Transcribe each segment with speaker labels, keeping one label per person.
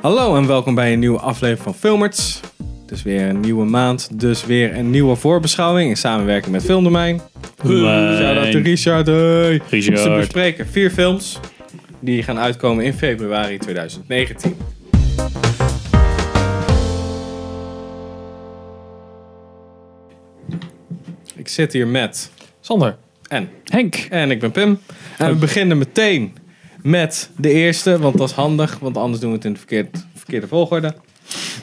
Speaker 1: Hallo en welkom bij een nieuwe aflevering van Filmerts. Het is weer een nieuwe maand, dus weer een nieuwe voorbeschouwing in samenwerking met Filmdomein.
Speaker 2: Domein.
Speaker 1: Shout-out to Richard. Hey.
Speaker 2: Richard.
Speaker 1: Ze bespreken vier films die gaan uitkomen in februari 2019. Ik zit hier met
Speaker 3: Sander.
Speaker 1: en
Speaker 2: Henk.
Speaker 1: en ik ben Pim. En we beginnen meteen met de eerste, want dat is handig, want anders doen we het in de verkeerd, verkeerde volgorde.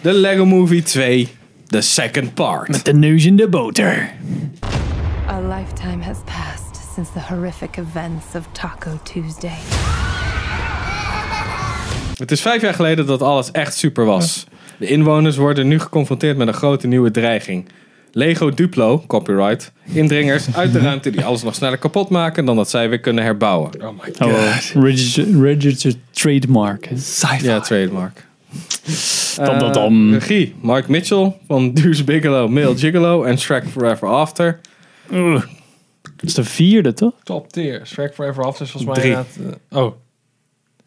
Speaker 1: De Lego Movie 2, The Second Part.
Speaker 2: De neus in de boter.
Speaker 4: A lifetime has passed since the horrific events of Taco Tuesday.
Speaker 1: Het is vijf jaar geleden dat alles echt super was. De inwoners worden nu geconfronteerd met een grote nieuwe dreiging. Lego Duplo, copyright, indringers uit de
Speaker 2: Mhm.
Speaker 1: ruimte die alles nog sneller kapot maken dan dat zij weer kunnen herbouwen.
Speaker 2: Oh, registered, registered trademark.
Speaker 1: Ja, trademark.
Speaker 2: Dam, dam,
Speaker 1: Eh,
Speaker 2: dam.
Speaker 1: regie, Mark Mitchell van Deuce Bigelow, Male Gigolo en Shrek Forever After.
Speaker 2: Ugh. Dat is de vierde, toch?
Speaker 3: Top tier. Shrek Forever After is volgens
Speaker 1: Drie.
Speaker 3: mij inderdaad... eh, oh,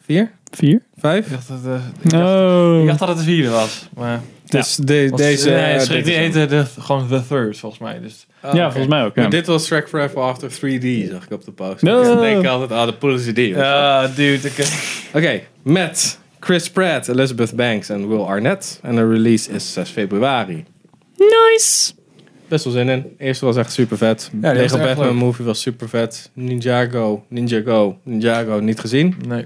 Speaker 1: Vier?
Speaker 2: Vier?
Speaker 3: ik
Speaker 1: Vijf?
Speaker 3: dacht dat, eh, ik dacht- ik
Speaker 2: Oh.
Speaker 3: dacht dat het de vierde was. Maar
Speaker 1: Dus de,
Speaker 3: was-
Speaker 1: deze...
Speaker 3: nee,
Speaker 1: eh,
Speaker 3: Shrek
Speaker 1: dit
Speaker 3: die
Speaker 1: is-
Speaker 3: heette de, gewoon The Third, volgens mij. Dus,
Speaker 1: Oh, oké.
Speaker 2: Ja, volgens mij ook.
Speaker 1: Maar
Speaker 2: Ja.
Speaker 1: dit was Shrek Forever After 3D, zag ik op de post.
Speaker 2: No.
Speaker 1: Dus dan denk ik altijd, ah, de poelen ze die.
Speaker 3: ja, dude. Ik, eh,
Speaker 1: Oké, met Chris Pratt, Elizabeth Banks en Will Arnett. En de release is 6 februari.
Speaker 2: Nice.
Speaker 1: Best wel zin in. Eerste was echt super vet.
Speaker 3: was echt
Speaker 1: Lego Batman
Speaker 3: leuk.
Speaker 1: movie was super vet. Ninjago, Ninjago, Ninjago niet gezien.
Speaker 3: nee.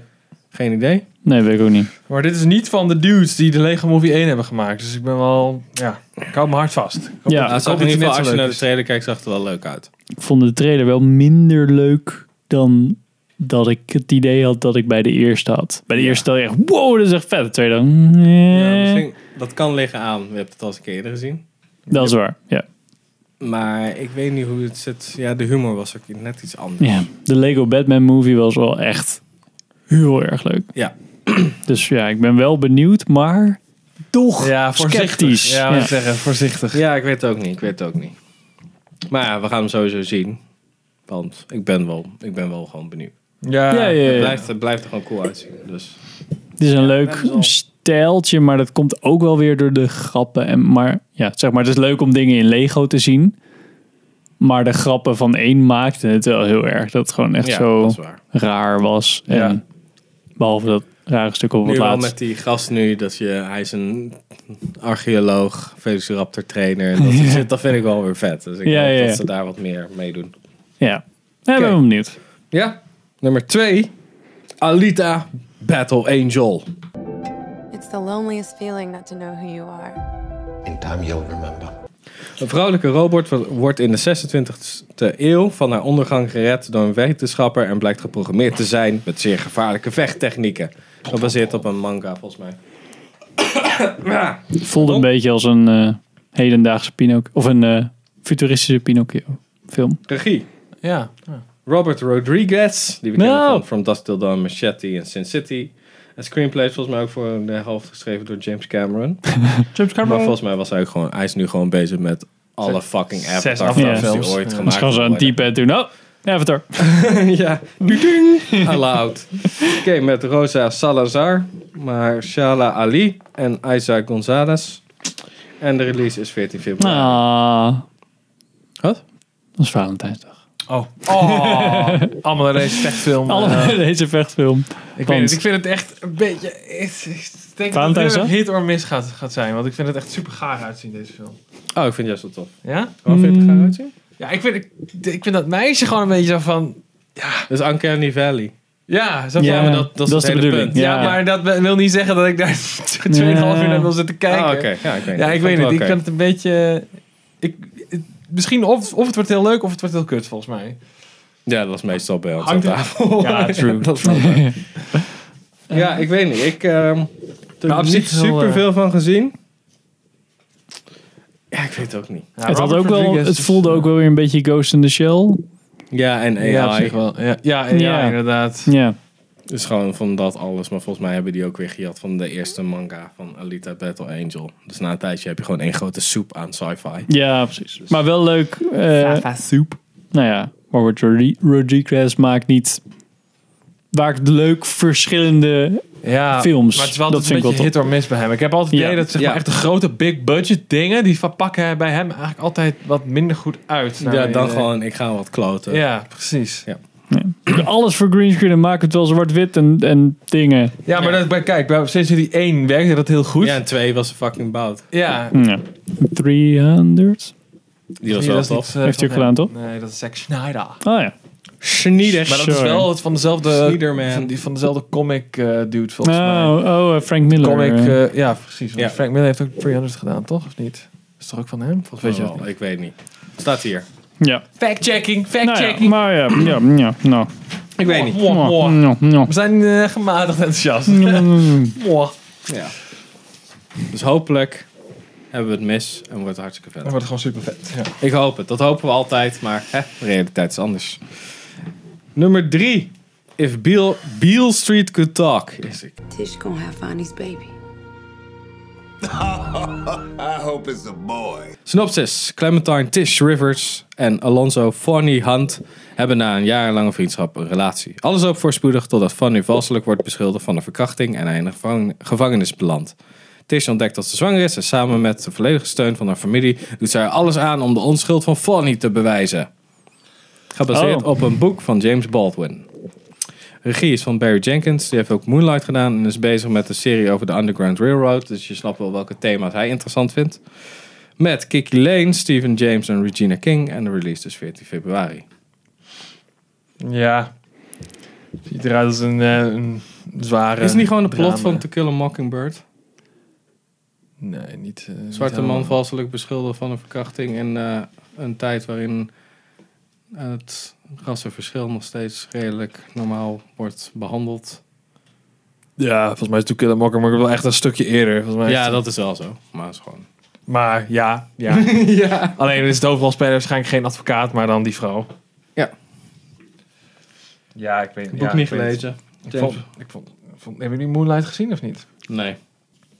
Speaker 1: Geen idee.
Speaker 2: Nee, weet ik ook niet.
Speaker 3: Maar dit is niet van de dudes die de Lego Movie 1 hebben gemaakt. Dus ik ben wel... Ja, ik hou mijn hart vast. Ik hoop
Speaker 2: Ja,
Speaker 3: dat-
Speaker 1: Nou,
Speaker 3: ik
Speaker 1: het zag
Speaker 3: hoop
Speaker 1: in
Speaker 3: dat
Speaker 1: ieder geval, als
Speaker 3: hij net
Speaker 1: je naar
Speaker 3: zo leuk
Speaker 1: de
Speaker 3: is.
Speaker 1: trailer kijkt, zag het er wel leuk uit.
Speaker 2: Ik vond de trailer wel minder leuk dan dat ik het idee had dat ik bij de eerste had. Bij de
Speaker 1: Ja.
Speaker 2: eerste dacht ik echt, wow, dat is echt vet. De tweede, mm,
Speaker 1: Ja,
Speaker 2: eh,
Speaker 1: misschien- dat kan liggen aan, we hebben het al eens een keer eerder gezien.
Speaker 2: dat is waar. Ja.
Speaker 1: Maar ik weet niet hoe het zit. Ja, de humor was ook net iets anders.
Speaker 2: ja. De Lego Batman movie was wel echt heel erg leuk.
Speaker 1: Ja.
Speaker 2: Dus ja, ik ben wel benieuwd, maar toch
Speaker 3: Ja, voorzichtig.
Speaker 2: sceptisch.
Speaker 3: Ja, wat ik zeggen, voorzichtig.
Speaker 1: Ja, ik weet het ook niet. Ik weet het ook niet. Maar ja, we gaan hem sowieso zien. Want ik ben wel, ik ben wel gewoon benieuwd.
Speaker 3: Ja,
Speaker 2: Ja, ja,
Speaker 1: Het,
Speaker 2: ja.
Speaker 1: blijft, het blijft er gewoon cool uitzien. Dus.
Speaker 2: Het is een leuk
Speaker 1: hebben ze al.
Speaker 2: stijltje, maar dat komt ook wel weer door de grappen. En, maar ja, zeg maar, het is leuk om dingen in Lego te zien. Maar de grappen van één maakten het wel heel erg. Dat het gewoon echt
Speaker 1: ja,
Speaker 2: zo
Speaker 1: dat is waar.
Speaker 2: raar was. En,
Speaker 3: Ja.
Speaker 2: Behalve dat rare stuk op
Speaker 1: Nu
Speaker 2: het
Speaker 1: wel
Speaker 2: laatst.
Speaker 1: met die gast nu, dat je, hij is een archeoloog, velociraptor trainer. Dat, soort shit, dat vind ik wel weer vet. Dus ik
Speaker 2: Ja,
Speaker 1: hoop
Speaker 2: ja, ja.
Speaker 1: dat ze daar wat meer mee doen.
Speaker 2: Ja, ja ik
Speaker 1: Oké.
Speaker 2: ben wel benieuwd.
Speaker 1: Ja, nummer twee. Alita Battle Angel.
Speaker 4: It's the loneliest feeling not to know who you are.
Speaker 5: In time, you'll remember.
Speaker 1: Een vrouwelijke robot wo- wordt in de 26e eeuw van haar ondergang gered door een wetenschapper en blijkt geprogrammeerd te zijn met zeer gevaarlijke vechttechnieken. Gebaseerd op een manga, volgens mij.
Speaker 2: Het voelde
Speaker 1: Waarom?
Speaker 2: een beetje als een eh, hedendaagse Pinocchio. Of een eh, futuristische Pinocchio film.
Speaker 1: Regie.
Speaker 3: Ja. ja.
Speaker 1: Robert Rodriguez, die we kennen
Speaker 2: Nou.
Speaker 1: van From Dust Till Dawn, Machete en Sin City. En screenplay is volgens mij ook voor de helft geschreven door James Cameron.
Speaker 3: James
Speaker 1: Maar
Speaker 3: Cameron.
Speaker 1: volgens mij was hij, ook gewoon, hij is nu gewoon bezig met alle fucking
Speaker 3: zes
Speaker 1: Avatar
Speaker 2: Avatar
Speaker 1: films die
Speaker 3: films.
Speaker 1: ooit
Speaker 3: Ja.
Speaker 1: gemaakt
Speaker 2: Dus gaan ze aan
Speaker 1: worden.
Speaker 2: het diepe en toen, oh, Avatar.
Speaker 1: ja. Duding. Allowed. Oké, met Rosa Salazar, Marshala Ali en Isaac Gonzalez. En de release is 14 februari.
Speaker 3: Nou.
Speaker 2: Ah,
Speaker 1: Wat?
Speaker 2: dat is Valentijnsdag.
Speaker 3: Oh. oh. Allemaal een vechtfilm.
Speaker 2: Allemaal
Speaker 3: Eh,
Speaker 2: deze vechtfilm.
Speaker 3: Ik,
Speaker 2: Want-
Speaker 3: weet het, ik vind het echt een beetje. Ik ik denk dat het heel
Speaker 2: Valentijnsdag?
Speaker 3: erg hit or miss gaat, gaat zijn. Want ik vind het echt super gaar uitzien, deze film.
Speaker 1: Oh, ik vind het juist wel tof.
Speaker 3: Ja?
Speaker 1: Waarom vind je het er gaar uitzien?
Speaker 3: Ja, ik vind, ik, ik vind dat meisje gewoon een beetje zo van.
Speaker 1: Dat is Uncanny Valley.
Speaker 3: Ja, zo van.
Speaker 2: Ja,
Speaker 1: maar
Speaker 2: dat is de
Speaker 1: hele
Speaker 2: bedoeling.
Speaker 1: punt.
Speaker 3: ja,
Speaker 2: ja.
Speaker 3: maar dat be- wil niet zeggen dat ik daar 2,5 uur naar wil zitten kijken.
Speaker 1: Ah, oké. Ja, ik weet
Speaker 3: Ja,
Speaker 1: het.
Speaker 3: ik weet
Speaker 1: Vond
Speaker 3: het. Ik
Speaker 1: wel
Speaker 3: vind
Speaker 1: oké.
Speaker 3: het een beetje. Ik, het- misschien of, of het wordt heel leuk of het wordt heel kut, volgens mij.
Speaker 1: Ja, dat is meestal bij ons
Speaker 3: Hangt
Speaker 1: aan
Speaker 3: er-
Speaker 1: tafel.
Speaker 3: Ja, true.
Speaker 1: dat is wel waar. ja, ik weet niet. Ik ehm, heb
Speaker 3: Nou,
Speaker 1: er
Speaker 3: op
Speaker 1: niet
Speaker 3: zich wel, eh,
Speaker 1: super veel van gezien. Ja, ik weet het ook niet.
Speaker 3: Ja,
Speaker 2: het, had
Speaker 3: Robert
Speaker 2: ook wel,
Speaker 3: Rodriguez
Speaker 2: het
Speaker 3: is-
Speaker 2: voelde ook wel weer een beetje Ghost in the Shell.
Speaker 1: Ja, en AI.
Speaker 3: Ja, op zich wel. Ja, ja, AI,
Speaker 2: Ja.
Speaker 3: inderdaad.
Speaker 2: Ja,
Speaker 1: Dus gewoon van dat alles. Maar volgens mij hebben die ook weer gejat van de eerste manga van Alita Battle Angel. Dus na een tijdje heb je gewoon één grote soep aan sci-fi.
Speaker 2: ja precies. Maar wel leuk. eh,
Speaker 3: Soep.
Speaker 2: nou ja, Robert Rodri- Rodriguez maakt niet waar ik leuk verschillende...
Speaker 3: Ja,
Speaker 2: Films,
Speaker 3: Maar het is wel
Speaker 2: dat
Speaker 3: altijd
Speaker 2: vind
Speaker 3: een
Speaker 2: ik
Speaker 3: beetje
Speaker 2: wel
Speaker 3: hit or miss bij hem. Ik heb altijd het
Speaker 2: Ja.
Speaker 3: idee dat zeg maar,
Speaker 1: Ja.
Speaker 3: echt de grote big budget dingen, die verpakken bij hem eigenlijk altijd wat minder goed uit. naar
Speaker 1: ja,
Speaker 3: mijn
Speaker 1: dan
Speaker 3: idee.
Speaker 1: gewoon, ik ga wat kloten.
Speaker 3: Ja, precies.
Speaker 2: Alles voor greenscreen en maak het wel zwart-wit en, en dingen.
Speaker 3: Ja, maar Dat, bij- kijk, bij SimCity 1 werkte dat heel goed.
Speaker 1: Ja,
Speaker 3: Ja,
Speaker 1: en twee was fucking bout.
Speaker 2: Ja. 300?
Speaker 1: Die was
Speaker 3: Zie je,
Speaker 1: wel
Speaker 3: dat is
Speaker 1: tof.
Speaker 3: niet, eh,
Speaker 2: Heeft hij ook
Speaker 3: van
Speaker 2: gedaan,
Speaker 3: hem.
Speaker 2: toch?
Speaker 3: Nee, dat is Zack Snyder.
Speaker 2: Ah ja.
Speaker 1: Schneider.
Speaker 3: Maar dat is
Speaker 2: Sure.
Speaker 3: wel het van dezelfde,
Speaker 1: Snyderman.
Speaker 3: van die, van dezelfde comic eh, dude, volgens mij.
Speaker 2: Oh, oh, eh, Frank Miller.
Speaker 3: Comic,
Speaker 2: eh.
Speaker 3: eh, ja, precies. want
Speaker 1: Ja.
Speaker 3: Frank Miller heeft ook 300 gedaan, toch? Of niet? Is toch ook van hem? Volgens weet je dat
Speaker 1: wel, Oh, ik weet niet. Staat hier.
Speaker 2: ja.
Speaker 3: Fact-checking,
Speaker 2: Nou ja, maar Mm. ja, ja, ja, nou.
Speaker 1: Ik weet niet.
Speaker 3: Mwah, mwah.
Speaker 2: Ja, ja.
Speaker 3: We zijn eh, gematigd enthousiast.
Speaker 2: Mm.
Speaker 3: Mwah.
Speaker 1: Ja. Dus hopelijk hebben we het mis en wordt het hartstikke vet.
Speaker 3: Dat wordt gewoon super vet. Ja.
Speaker 1: Ik hoop het. Dat hopen we altijd, maar hè, de realiteit is anders. Nummer drie. If Beale, Beale Street could talk. Is ik.
Speaker 6: Tish gonna have Fonny's baby.
Speaker 7: I hope it's a boy.
Speaker 1: Synopsis. Clementine Tish Rivers en Alonso Fanny Hunt hebben na een jarenlange vriendschap een relatie. Alles loopt voorspoedig totdat Fanny valselijk wordt beschuldigd van een verkrachting en hij in de gevang- gevangenis belandt. Tish ontdekt dat ze zwanger is en samen met de volledige steun van haar familie doet zij er alles aan om de onschuld van Fanny te bewijzen. Gebaseerd
Speaker 2: Oh.
Speaker 1: op een boek van James Baldwin. Regie is van Barry Jenkins, die heeft ook Moonlight gedaan en is bezig met de serie over de Underground Railroad. Dus je snapt wel welke thema's hij interessant vindt. Met Kiki Lane, Stephen James en Regina King. En de release dus 14 februari.
Speaker 3: ja. Ziet eruit als een, eh, een zware...
Speaker 1: Is het niet gewoon de plot
Speaker 3: drama.
Speaker 1: van To Kill a Mockingbird?
Speaker 3: Nee, niet... eh, niet
Speaker 1: Zwarte man
Speaker 3: helemaal.
Speaker 1: valselijk beschuldigd van een verkrachting. En eh, een tijd waarin het rassenverschil nog steeds redelijk normaal wordt behandeld.
Speaker 3: Ja, volgens mij is To Kill a Mockingbird wel echt een stukje eerder. Volgens mij
Speaker 1: Ja,
Speaker 3: is-
Speaker 1: dat is wel zo. Maar het is gewoon...
Speaker 3: Maar ja, ja. Alleen is het hoofdrolspeler waarschijnlijk geen advocaat, maar dan die vrouw.
Speaker 1: Ja.
Speaker 3: Ja, ik weet
Speaker 1: Het
Speaker 3: ja,
Speaker 1: boek
Speaker 3: ik
Speaker 1: niet
Speaker 3: weet het.
Speaker 1: gelezen.
Speaker 3: Ik vond, ik vond, vond- hebben jullie Moonlight gezien of niet?
Speaker 1: Nee.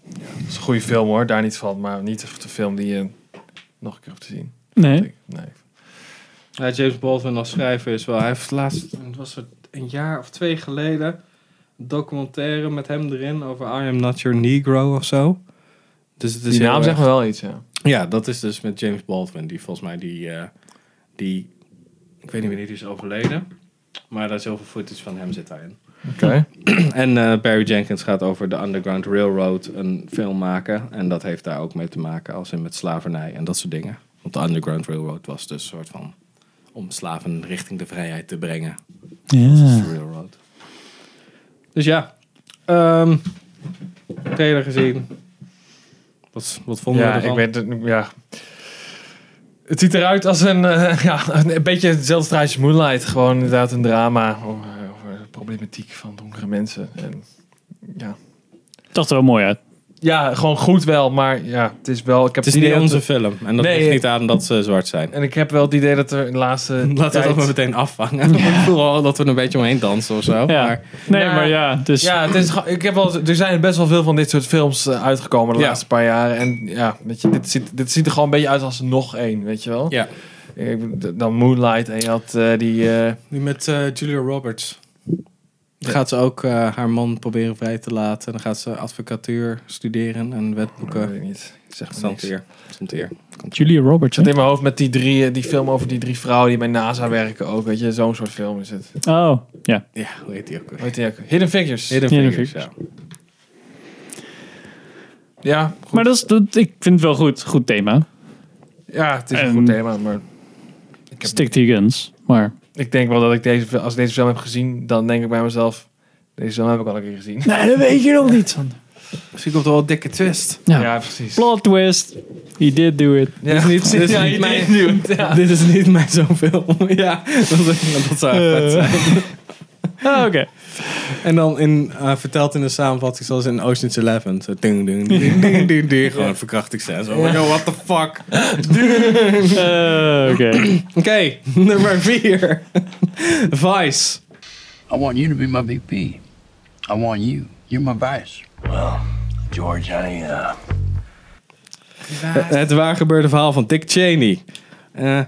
Speaker 3: Dat is een goede film hoor, daar niet van. Maar niet echt de film die je nog een keer hoeft te zien.
Speaker 2: Nee.
Speaker 3: Nee.
Speaker 1: Ja, James Baldwin als schrijver is wel... Hij heeft laatst, het was er een jaar of twee geleden... een documentaire met hem erin over I Am Not Your Negro of zo. Dus het is
Speaker 3: Die
Speaker 1: heel
Speaker 3: naam
Speaker 1: erg-
Speaker 3: zegt me wel iets, ja.
Speaker 1: Ja, dat is dus met James Baldwin, die volgens mij die, eh, die ik weet niet wanneer die is overleden, maar daar is heel veel footage van hem zit daarin.
Speaker 3: Oké.
Speaker 1: En eh, Barry Jenkins gaat over de Underground Railroad een film maken en dat heeft daar ook mee te maken als in met slavernij en dat soort dingen. Want de Underground Railroad was dus een soort van om slaven richting de vrijheid te brengen.
Speaker 2: Ja.
Speaker 1: De Railroad. Dus ja, ehm trailer gezien. Wat, wat vonden
Speaker 3: Ja,
Speaker 1: we
Speaker 3: ik
Speaker 1: ervan?
Speaker 3: weet het, ja. Het ziet eruit als een, eh, ja, een beetje hetzelfde straatje als Moonlight. Gewoon inderdaad een drama over, over de problematiek van donkere mensen. En, ja.
Speaker 2: Dat er wel mooi uit.
Speaker 3: ja, gewoon goed wel, maar ja, het is wel... Ik
Speaker 1: Het
Speaker 3: heb
Speaker 1: is niet
Speaker 3: idee dat-
Speaker 1: onze film. En dat
Speaker 3: Nee,
Speaker 1: ligt
Speaker 3: eh,
Speaker 1: niet aan dat ze zwart zijn.
Speaker 3: En ik heb wel het idee dat er in de laatste
Speaker 1: Laten we
Speaker 3: tijd-
Speaker 1: dat maar meteen afvangen. Ik voel al dat we er een beetje omheen dansen of zo.
Speaker 2: Ja.
Speaker 1: Maar
Speaker 2: nee,
Speaker 3: Nou,
Speaker 2: maar ja, dus
Speaker 3: Ja, het is, gewoon- ik heb wel, er zijn best wel veel van dit soort films eh, uitgekomen de
Speaker 1: Ja.
Speaker 3: laatste paar jaren. En ja, weet je, dit, ziet, dit ziet er gewoon een beetje uit als nog één, weet je wel?
Speaker 1: ja.
Speaker 3: Ik bedoel, Dan Moonlight en je had eh, die... eh,
Speaker 1: Nu met eh, Julia Roberts. Dan gaat ze ook eh, haar man proberen vrij te laten. En dan gaat ze advocatuur studeren en
Speaker 3: ik
Speaker 1: wetboeken.
Speaker 3: weet niet, zeg maar
Speaker 1: Stond
Speaker 3: niks.
Speaker 1: hier. Stond hier.
Speaker 2: Julia Roberts. hè?
Speaker 3: Het in mijn hoofd met die, drie, eh, die film over die drie vrouwen die bij NASA werken ook, weet je? Zo'n soort film is het.
Speaker 2: Oh, ja.
Speaker 1: Ja, hoe heet die ook? weer?
Speaker 3: Weet je, Hidden Figures.
Speaker 1: Hidden
Speaker 2: Hidden
Speaker 1: Figures,
Speaker 2: Figures.
Speaker 1: ja.
Speaker 3: Ja, goed.
Speaker 2: Maar dat is, dat, ik vind het wel goed. Goed thema.
Speaker 3: ja, het is een
Speaker 2: En-
Speaker 3: goed thema, maar... Ik heb-
Speaker 2: Stick to your guns. Maar
Speaker 3: Ik denk wel dat ik deze, als ik deze film heb gezien, dan denk ik bij mezelf, deze film heb ik al een keer gezien.
Speaker 2: Nee, dat weet je nog niet.
Speaker 1: Misschien komt er wel een dikke twist.
Speaker 2: Ja.
Speaker 3: precies.
Speaker 2: Plot twist. He did do it.
Speaker 3: Ja.
Speaker 1: Dit is niet, dit is
Speaker 3: Ja,
Speaker 1: niet
Speaker 3: je
Speaker 1: mijn,
Speaker 3: denkt nu.
Speaker 1: dit is niet mijn zo'n film. ja, dat, dat zou echt vet zijn.
Speaker 2: Ah, Oké.
Speaker 1: Eh, En dan in, eh, verteld in de samenvatting zoals in Ocean's Eleven. Zo ding, ding, ding, ding, ding, ding. Gewoon verkrachtingsscènes. Oh my god, what the fuck.
Speaker 2: Eh, Oké.
Speaker 1: Oké, nummer vier. Vice.
Speaker 8: I want you to be my VP. I want you. You're my vice.
Speaker 7: George, honey, uh,
Speaker 1: Eh, Het waar gebeurde verhaal van Dick Cheney. Eh,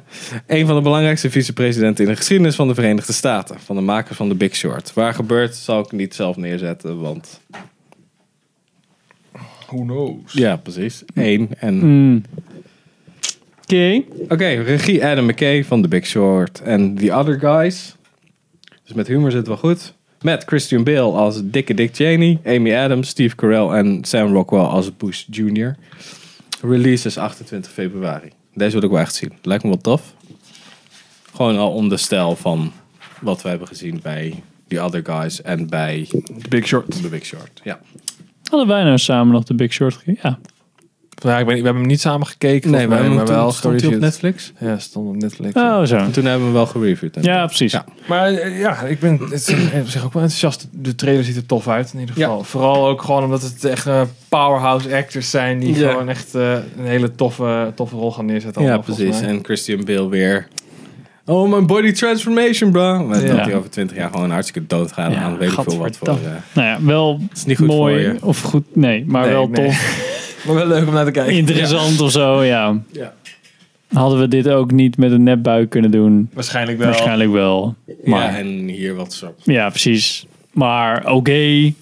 Speaker 1: een van de belangrijkste vicepresidenten in de geschiedenis van de Verenigde Staten. Van de makers van The Big Short. Waar gebeurt, zal ik niet zelf neerzetten, want...
Speaker 3: Who knows?
Speaker 1: Ja, precies. Eén. En...
Speaker 2: Oké.
Speaker 1: Oké, regie Adam McKay van The Big Short. En The Other Guys. Dus met humor zit het wel goed. Met Christian Bale als dikke Dick Cheney. Amy Adams, Steve Carell en Sam Rockwell als Bush Jr. Release is 28 februari. Deze wil ik wel echt zien. Lijkt me wel tof. Gewoon al om de stijl van wat we hebben gezien bij The Other Guys en bij
Speaker 3: The Big Short.
Speaker 1: The Big Short. Ja.
Speaker 2: Hadden wij nou samen nog de Big Short gekeken? Ja.
Speaker 3: Ja, ik weet niet, we hebben hem niet samen gekeken.
Speaker 1: Nee, we
Speaker 3: volgens
Speaker 1: hebben
Speaker 3: mij,
Speaker 1: hem wel stond hij op
Speaker 3: gereviewd.
Speaker 1: Netflix.
Speaker 3: Ja, stond op Netflix. ja.
Speaker 2: Oh, zo.
Speaker 1: En toen hebben we hem wel gereviewd.
Speaker 2: Ja, precies.
Speaker 1: Ja.
Speaker 3: Maar eh, ja, ik ben het is eh, op zich ook wel enthousiast. De trailer ziet er tof uit in ieder
Speaker 1: Ja.
Speaker 3: geval. Vooral ook gewoon omdat het echt eh, powerhouse actors zijn die
Speaker 1: Ja.
Speaker 3: gewoon echt eh, een hele toffe, toffe rol gaan neerzetten.
Speaker 1: Ja,
Speaker 3: allemaal, volgens
Speaker 1: precies.
Speaker 3: mij.
Speaker 1: En Christian Bale weer. Oh, mijn body transformation, bro. Maar
Speaker 2: Ja.
Speaker 1: dat hij over 20 jaar gewoon hartstikke dood gaat
Speaker 2: Ja,
Speaker 1: aan nou, weet ik veel wat voor.
Speaker 2: gadverdamme.
Speaker 1: eh,
Speaker 2: Nou ja, wel
Speaker 1: is niet goed
Speaker 2: mooi
Speaker 1: voor je.
Speaker 2: of goed. Nee, maar
Speaker 3: Nee,
Speaker 2: wel
Speaker 3: nee.
Speaker 2: tof.
Speaker 3: Maar wel leuk om naar te kijken.
Speaker 2: Interessant of zo, ja.
Speaker 1: Ja.
Speaker 2: Hadden we dit ook niet met een nepbuik kunnen doen?
Speaker 3: Waarschijnlijk wel.
Speaker 2: Waarschijnlijk wel. Maar
Speaker 1: ja, en hier wat zo.
Speaker 2: Ja, precies. Maar oké.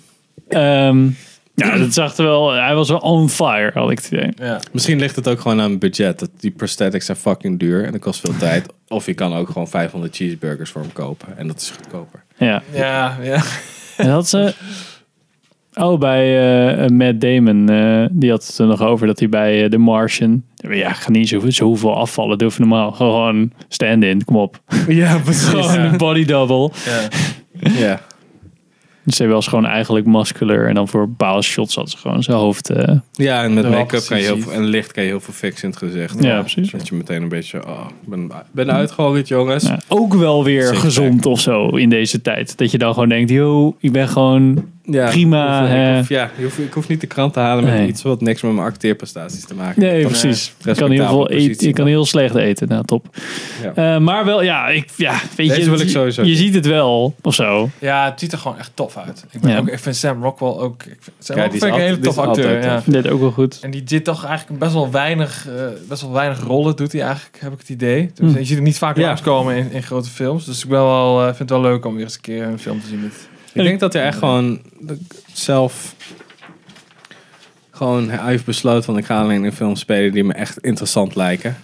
Speaker 2: Ehm, ja, dat zag er wel. Hij was wel on fire, had ik het idee.
Speaker 3: Ja.
Speaker 1: Misschien ligt het ook gewoon aan het budget. Dat die prosthetics zijn fucking duur en dat kost veel tijd. Of je kan ook gewoon 500 cheeseburgers voor hem kopen. En dat is goedkoper.
Speaker 2: Ja.
Speaker 3: Ja, ja.
Speaker 2: En had ze. Oh, bij eh Matt Damon. eh, die had het er nog over dat hij bij eh, The Martian. Ja, ga niet zo, zoveel afvallen. Doe even normaal. Gewoon stand-in. Kom op.
Speaker 1: Ja, precies.
Speaker 2: Gewoon een body double.
Speaker 3: ja.
Speaker 1: Ja.
Speaker 2: Dus hij was gewoon eigenlijk muscular. En dan voor bepaalde shots had ze gewoon zijn hoofd. eh,
Speaker 1: ja, en met
Speaker 3: Ja,
Speaker 1: make-up kan je heel
Speaker 3: precies.
Speaker 1: veel, en licht kan je heel veel fixen in het gezicht.
Speaker 2: Ja, precies.
Speaker 1: Dat je meteen een beetje, oh, ik ben, ben uitgehongerd, jongens.
Speaker 2: nou, ook wel weer
Speaker 1: Sixpack.
Speaker 2: gezond of zo in deze tijd. Dat je dan gewoon denkt, yo, ik ben gewoon
Speaker 1: Ja,
Speaker 2: Prima,
Speaker 1: ik hoef-
Speaker 2: hè.
Speaker 1: Ik hoef, ja, ik hoef, ik hoef niet de krant te halen met
Speaker 2: Nee.
Speaker 1: iets wat niks met mijn acteerprestaties te maken
Speaker 2: Nee,
Speaker 1: heeft. Dat-
Speaker 2: precies.
Speaker 1: Nee.
Speaker 2: Ik kan heel veel
Speaker 1: eh, Respectabele
Speaker 2: eten. Ik
Speaker 1: positie.
Speaker 2: kan heel slecht eten. Nou, top.
Speaker 1: Ja.
Speaker 2: Eh, maar wel, ja, ik, ja weet
Speaker 1: Deze
Speaker 2: je,
Speaker 1: wil ik
Speaker 2: je-
Speaker 1: sowieso
Speaker 2: Je
Speaker 1: zien.
Speaker 2: ziet het wel of zo.
Speaker 3: ja, het ziet er gewoon echt tof uit. Ik, ben
Speaker 2: Ja.
Speaker 3: ook, ik vind Sam Rockwell ook... Ik vind, Sam
Speaker 1: Kijk,
Speaker 3: Rockwell
Speaker 1: die is
Speaker 3: vind ik een
Speaker 1: altijd-
Speaker 3: hele
Speaker 1: die is
Speaker 3: tof acteur.
Speaker 1: altijd
Speaker 3: Ja.
Speaker 1: tof.
Speaker 2: Dit ook wel goed.
Speaker 3: En die dit toch eigenlijk best wel weinig, eh, best wel weinig rollen doet hij eigenlijk, heb ik het idee. Dus Je ziet hem niet vaak
Speaker 1: Ja.
Speaker 3: langskomen in, in grote films. Dus ik ben wel, eh, vind het wel leuk om weer eens een keer een film te zien met...
Speaker 1: Ik denk dat hij echt gewoon zelf... Gewoon, hij heeft besloten van ik ga alleen in films spelen die me echt interessant lijken.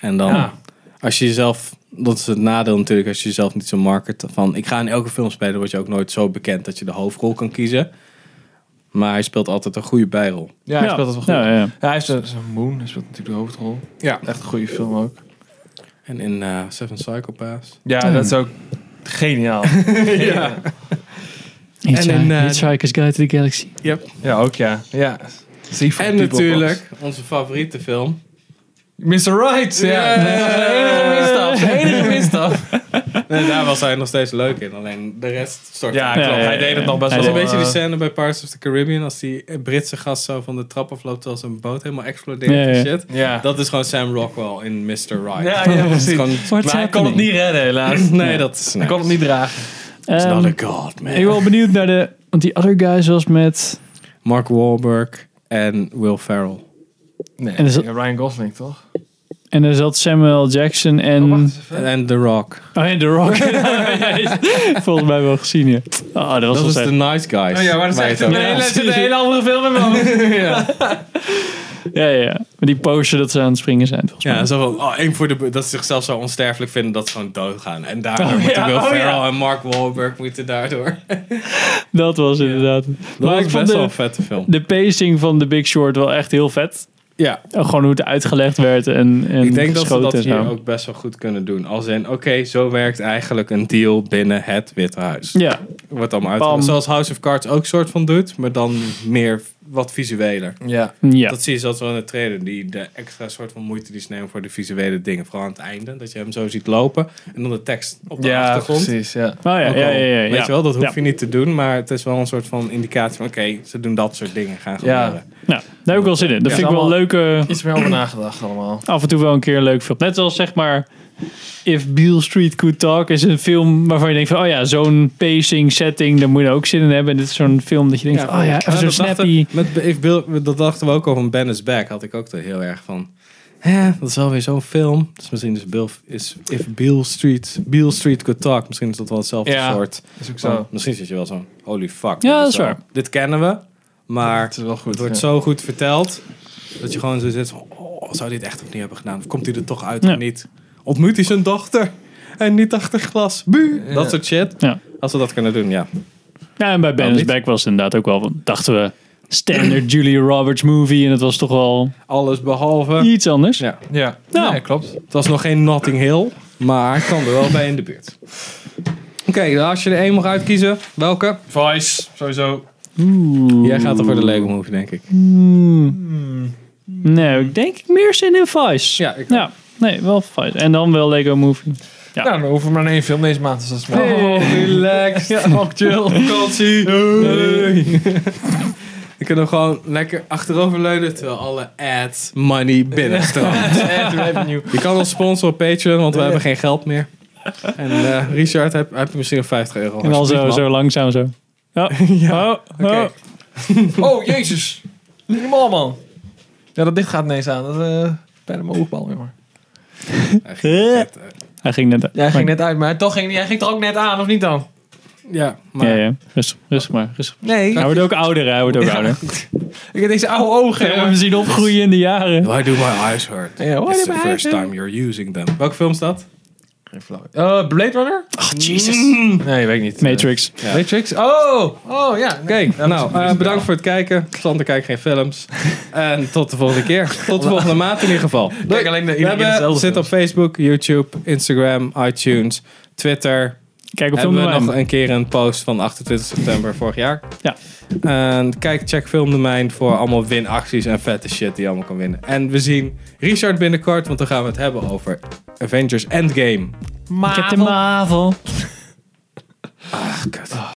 Speaker 1: En dan,
Speaker 3: Ja.
Speaker 1: als je jezelf... Dat is het nadeel natuurlijk als je jezelf niet zo market. Van ik ga in elke film spelen, word je ook nooit zo bekend dat je de hoofdrol kan kiezen. Maar hij speelt altijd een goede bijrol.
Speaker 3: Ja, hij speelt dat wel goed.
Speaker 2: Ja, Nou,
Speaker 3: Ja,
Speaker 2: ja, ja.
Speaker 3: hij is een zijn Moon, hij speelt natuurlijk de hoofdrol.
Speaker 1: Ja.
Speaker 3: Echt een goede film ook.
Speaker 1: En in eh, Seven Psychopaths.
Speaker 3: Ja, dat is ook geniaal. ja.
Speaker 2: Hitchhi-
Speaker 1: in, eh,
Speaker 2: Hitchhiker's Guide to the Galaxy.
Speaker 1: Yep.
Speaker 3: ja, ook ja. ja. See for
Speaker 1: En
Speaker 3: people,
Speaker 1: natuurlijk onze favoriete film.
Speaker 3: boss. Mr. Right, ja.
Speaker 1: Yeah.
Speaker 3: De enige misstap.
Speaker 1: Nee, daar was hij nog steeds leuk in, alleen de rest stort.
Speaker 3: Ja,
Speaker 1: dat
Speaker 3: klopt.
Speaker 2: ja,
Speaker 3: Hij
Speaker 2: ja,
Speaker 3: deed het
Speaker 2: ja.
Speaker 3: nog best
Speaker 2: Hij
Speaker 1: is
Speaker 3: wel...
Speaker 1: een beetje die
Speaker 3: eh,
Speaker 1: scène bij Pirates of the Caribbean als die Britse gast zo van de trap afloopt terwijl zijn boot helemaal explodeert
Speaker 2: Ja, ja.
Speaker 1: en shit.
Speaker 3: Ja.
Speaker 1: Dat is gewoon Sam Rockwell in Mr. Right.
Speaker 3: Ja, ja,
Speaker 1: Dat is
Speaker 3: precies.
Speaker 1: gewoon-
Speaker 3: Maar hij kon het niet redden, helaas.
Speaker 1: nee, dat is
Speaker 3: Hij kon het niet dragen.
Speaker 2: Ehm,
Speaker 1: god,
Speaker 2: ik ben wel benieuwd naar de... Want die Other Guys was met...
Speaker 1: Mark Wahlberg en Will Ferrell.
Speaker 3: Nee,
Speaker 2: En is dat-
Speaker 3: ja, Ryan Gosling, toch?
Speaker 2: En er zat Samuel Jackson en... Oh,
Speaker 1: En The Rock.
Speaker 2: en The Rock. Volgens mij wel gezien, ja. Oh, dat was
Speaker 1: Dat
Speaker 2: wel
Speaker 1: was
Speaker 2: vet.
Speaker 1: The Nice Guys.
Speaker 3: Oh ja, maar dat is
Speaker 1: Waar
Speaker 3: echt
Speaker 1: je het
Speaker 3: een
Speaker 1: over
Speaker 3: hele,
Speaker 1: had.
Speaker 3: zit een hele andere film in mijn hoofd.
Speaker 2: Ja, ja, ja. Maar die pose dat ze aan het springen zijn, volgens mij.
Speaker 1: Ja, zo van, oh, één voor de, bu- dat ze zichzelf zo onsterfelijk vinden dat ze gewoon doodgaan. En daardoor moeten
Speaker 2: ja,
Speaker 1: Will
Speaker 2: oh
Speaker 1: Ferrell
Speaker 2: ja.
Speaker 1: en Mark Wahlberg moeten daardoor.
Speaker 2: Dat was inderdaad...
Speaker 1: Dat was
Speaker 2: ik vond
Speaker 1: best
Speaker 2: de-
Speaker 1: wel een vette film.
Speaker 2: de pacing van The Big Short wel echt heel vet.
Speaker 1: Ja,
Speaker 2: Uh, Gewoon hoe het uitgelegd werd en, en
Speaker 1: ik denk dat ze dat
Speaker 2: geschoten nou. en
Speaker 1: hier
Speaker 2: zo.
Speaker 1: ook best wel goed kunnen doen. Als in, oké, zo werkt eigenlijk een deal binnen het Witte Huis.
Speaker 2: Ja,
Speaker 1: Wordt allemaal
Speaker 2: Bam.
Speaker 1: uitgelegd. Zoals House of Cards ook soort van doet, maar dan meer wat visueler.
Speaker 3: Ja.
Speaker 2: ja.
Speaker 1: Dat zie je zelfs wel in de trailer. Die, de extra soort van moeite die ze nemen voor de visuele dingen. Vooral aan het einde. Dat je hem zo ziet lopen. En dan de tekst op de
Speaker 3: Ja,
Speaker 1: achtergrond.
Speaker 3: precies. Ja.
Speaker 2: Oh, ja, ja,
Speaker 1: Ook
Speaker 2: ja,
Speaker 1: al,
Speaker 2: ja, ja.
Speaker 1: Weet je wel, dat hoef
Speaker 2: Ja.
Speaker 1: je niet te doen, maar het is wel een soort van indicatie van oké, ze doen dat soort dingen gaan
Speaker 3: Ja.
Speaker 1: gebeuren.
Speaker 2: Nou, daar heb ik wel zin in. Dat
Speaker 3: Ja.
Speaker 2: vind ik wel een leuke,
Speaker 3: Iets meer over nagedacht allemaal.
Speaker 2: af en toe wel een keer een leuk film. Net als zeg maar, If Beale Street Could Talk is een film waarvan je denkt van, oh ja, zo'n pacing, setting, daar moet je ook zin in hebben. En dit is zo'n film dat je denkt van, oh ja, even
Speaker 1: dat
Speaker 2: zo'n snappy.
Speaker 1: Dachten, met, Be- if Bill- dat dachten we ook al van Ben is Back, had ik ook er heel erg van. hè, dat is wel weer zo'n film. Dus misschien is, Bill, is If Beale Street, Beale Street Could Talk, misschien is dat wel hetzelfde
Speaker 3: Ja.
Speaker 1: soort.
Speaker 3: Is ook
Speaker 1: Want
Speaker 3: zo.
Speaker 1: Misschien zit je wel zo'n holy fuck.
Speaker 2: Ja,
Speaker 1: dit
Speaker 2: dat is
Speaker 1: wel-
Speaker 2: waar.
Speaker 1: Dit kennen we, maar
Speaker 3: Het is wel goed.
Speaker 1: het wordt
Speaker 3: ja.
Speaker 1: zo goed verteld dat je gewoon zo zit van, oh, zou dit echt opnieuw hebben gedaan? Of komt hij er toch uit
Speaker 2: Ja.
Speaker 1: of niet? Ontmoet hij zijn dochter en niet achter glas? Buh!
Speaker 3: Ja.
Speaker 1: Dat soort shit.
Speaker 2: Ja.
Speaker 1: Als we dat kunnen doen, ja.
Speaker 2: Ja, en bij Ben is
Speaker 1: niet.
Speaker 2: Back was het inderdaad ook wel, van, dachten we, standard Julia Roberts movie. En het was toch wel
Speaker 1: Alles behalve.
Speaker 2: iets anders.
Speaker 1: Ja.
Speaker 3: Ja,
Speaker 2: Nou.
Speaker 3: Nee, klopt.
Speaker 1: Het was nog geen Notting Hill, maar ik kwam er wel bij in de buurt. Oké, dan als je er één mag uitkiezen, welke?
Speaker 3: Vice, sowieso.
Speaker 1: Jij gaat er voor de Lego Movie, denk ik.
Speaker 2: Nee, ik denk meer zin in Vice.
Speaker 1: Ja, ik
Speaker 2: Ja, nee, wel Vice. En dan wel Lego Movie. Ja.
Speaker 3: Nou, dan hoeven we maar één film deze maand. Dus dat is
Speaker 1: Oh.
Speaker 3: maar.
Speaker 1: relax.
Speaker 3: Oh, chill.
Speaker 1: vakantie. Ik kan hem gewoon lekker achteroverleunen terwijl alle ads money binnenstroomt.
Speaker 3: Echt revenue.
Speaker 1: Je kan ons sponsoren op Patreon, want we hebben geen geld meer. En eh, Richard, heb, heb je misschien nog 50 euro?
Speaker 2: En dan zo,
Speaker 1: Alsjeblieft, man.
Speaker 2: zo langzaam zo. Oh, ja, oh,
Speaker 1: Oké.
Speaker 2: oh.
Speaker 3: Oh, jezus. Niet normaal, man. Ja, dat dicht gaat ineens aan. Dat eh bijna mijn oogbal, jongen.
Speaker 1: eh,
Speaker 2: Hij ging net uit.
Speaker 3: Jij ging net uit, maar toch ging, jij ging er ook net aan, of niet dan?
Speaker 1: Ja, maar
Speaker 2: Ja, ja. Rustig, rustig maar. Rustig.
Speaker 3: Nee.
Speaker 2: Hij wordt ook ouder, hè, hij wordt ook ouder.
Speaker 3: Ik heb deze oude ogen.
Speaker 2: We hebben
Speaker 3: jongen.
Speaker 2: hem zien opgroeien in de jaren.
Speaker 1: Why do my eyes hurt?
Speaker 3: Ja, hoor
Speaker 1: It's
Speaker 3: je
Speaker 1: the
Speaker 3: mij?
Speaker 1: first time you're using them. Welke film is dat?
Speaker 3: Eh, Blade Runner?
Speaker 2: Oh, Jesus.
Speaker 3: Nee, weet ik niet.
Speaker 2: Matrix.
Speaker 3: Eh, Matrix? Oh, oh ja. Oké,
Speaker 1: Kijk, nou, eh, bedankt voor het kijken. Sander kijkt geen films. En tot de volgende keer. Tot de volgende maand in ieder geval.
Speaker 3: Kijk alleen de
Speaker 1: We
Speaker 3: iedereen
Speaker 1: hebben,
Speaker 3: hetzelfde.
Speaker 1: zit op Facebook, YouTube, Instagram, iTunes, Twitter.
Speaker 2: Kijk op
Speaker 1: Hebben we nog
Speaker 2: film.
Speaker 1: een keer een post van 28 september vorig jaar.
Speaker 2: Ja.
Speaker 1: En kijk, check Filmdomein voor allemaal winacties en vette shit die je allemaal kan winnen. En we zien Richard binnenkort, want dan gaan we het hebben over Avengers Endgame.
Speaker 2: Ik heb de Marvel.
Speaker 1: Ah, kut.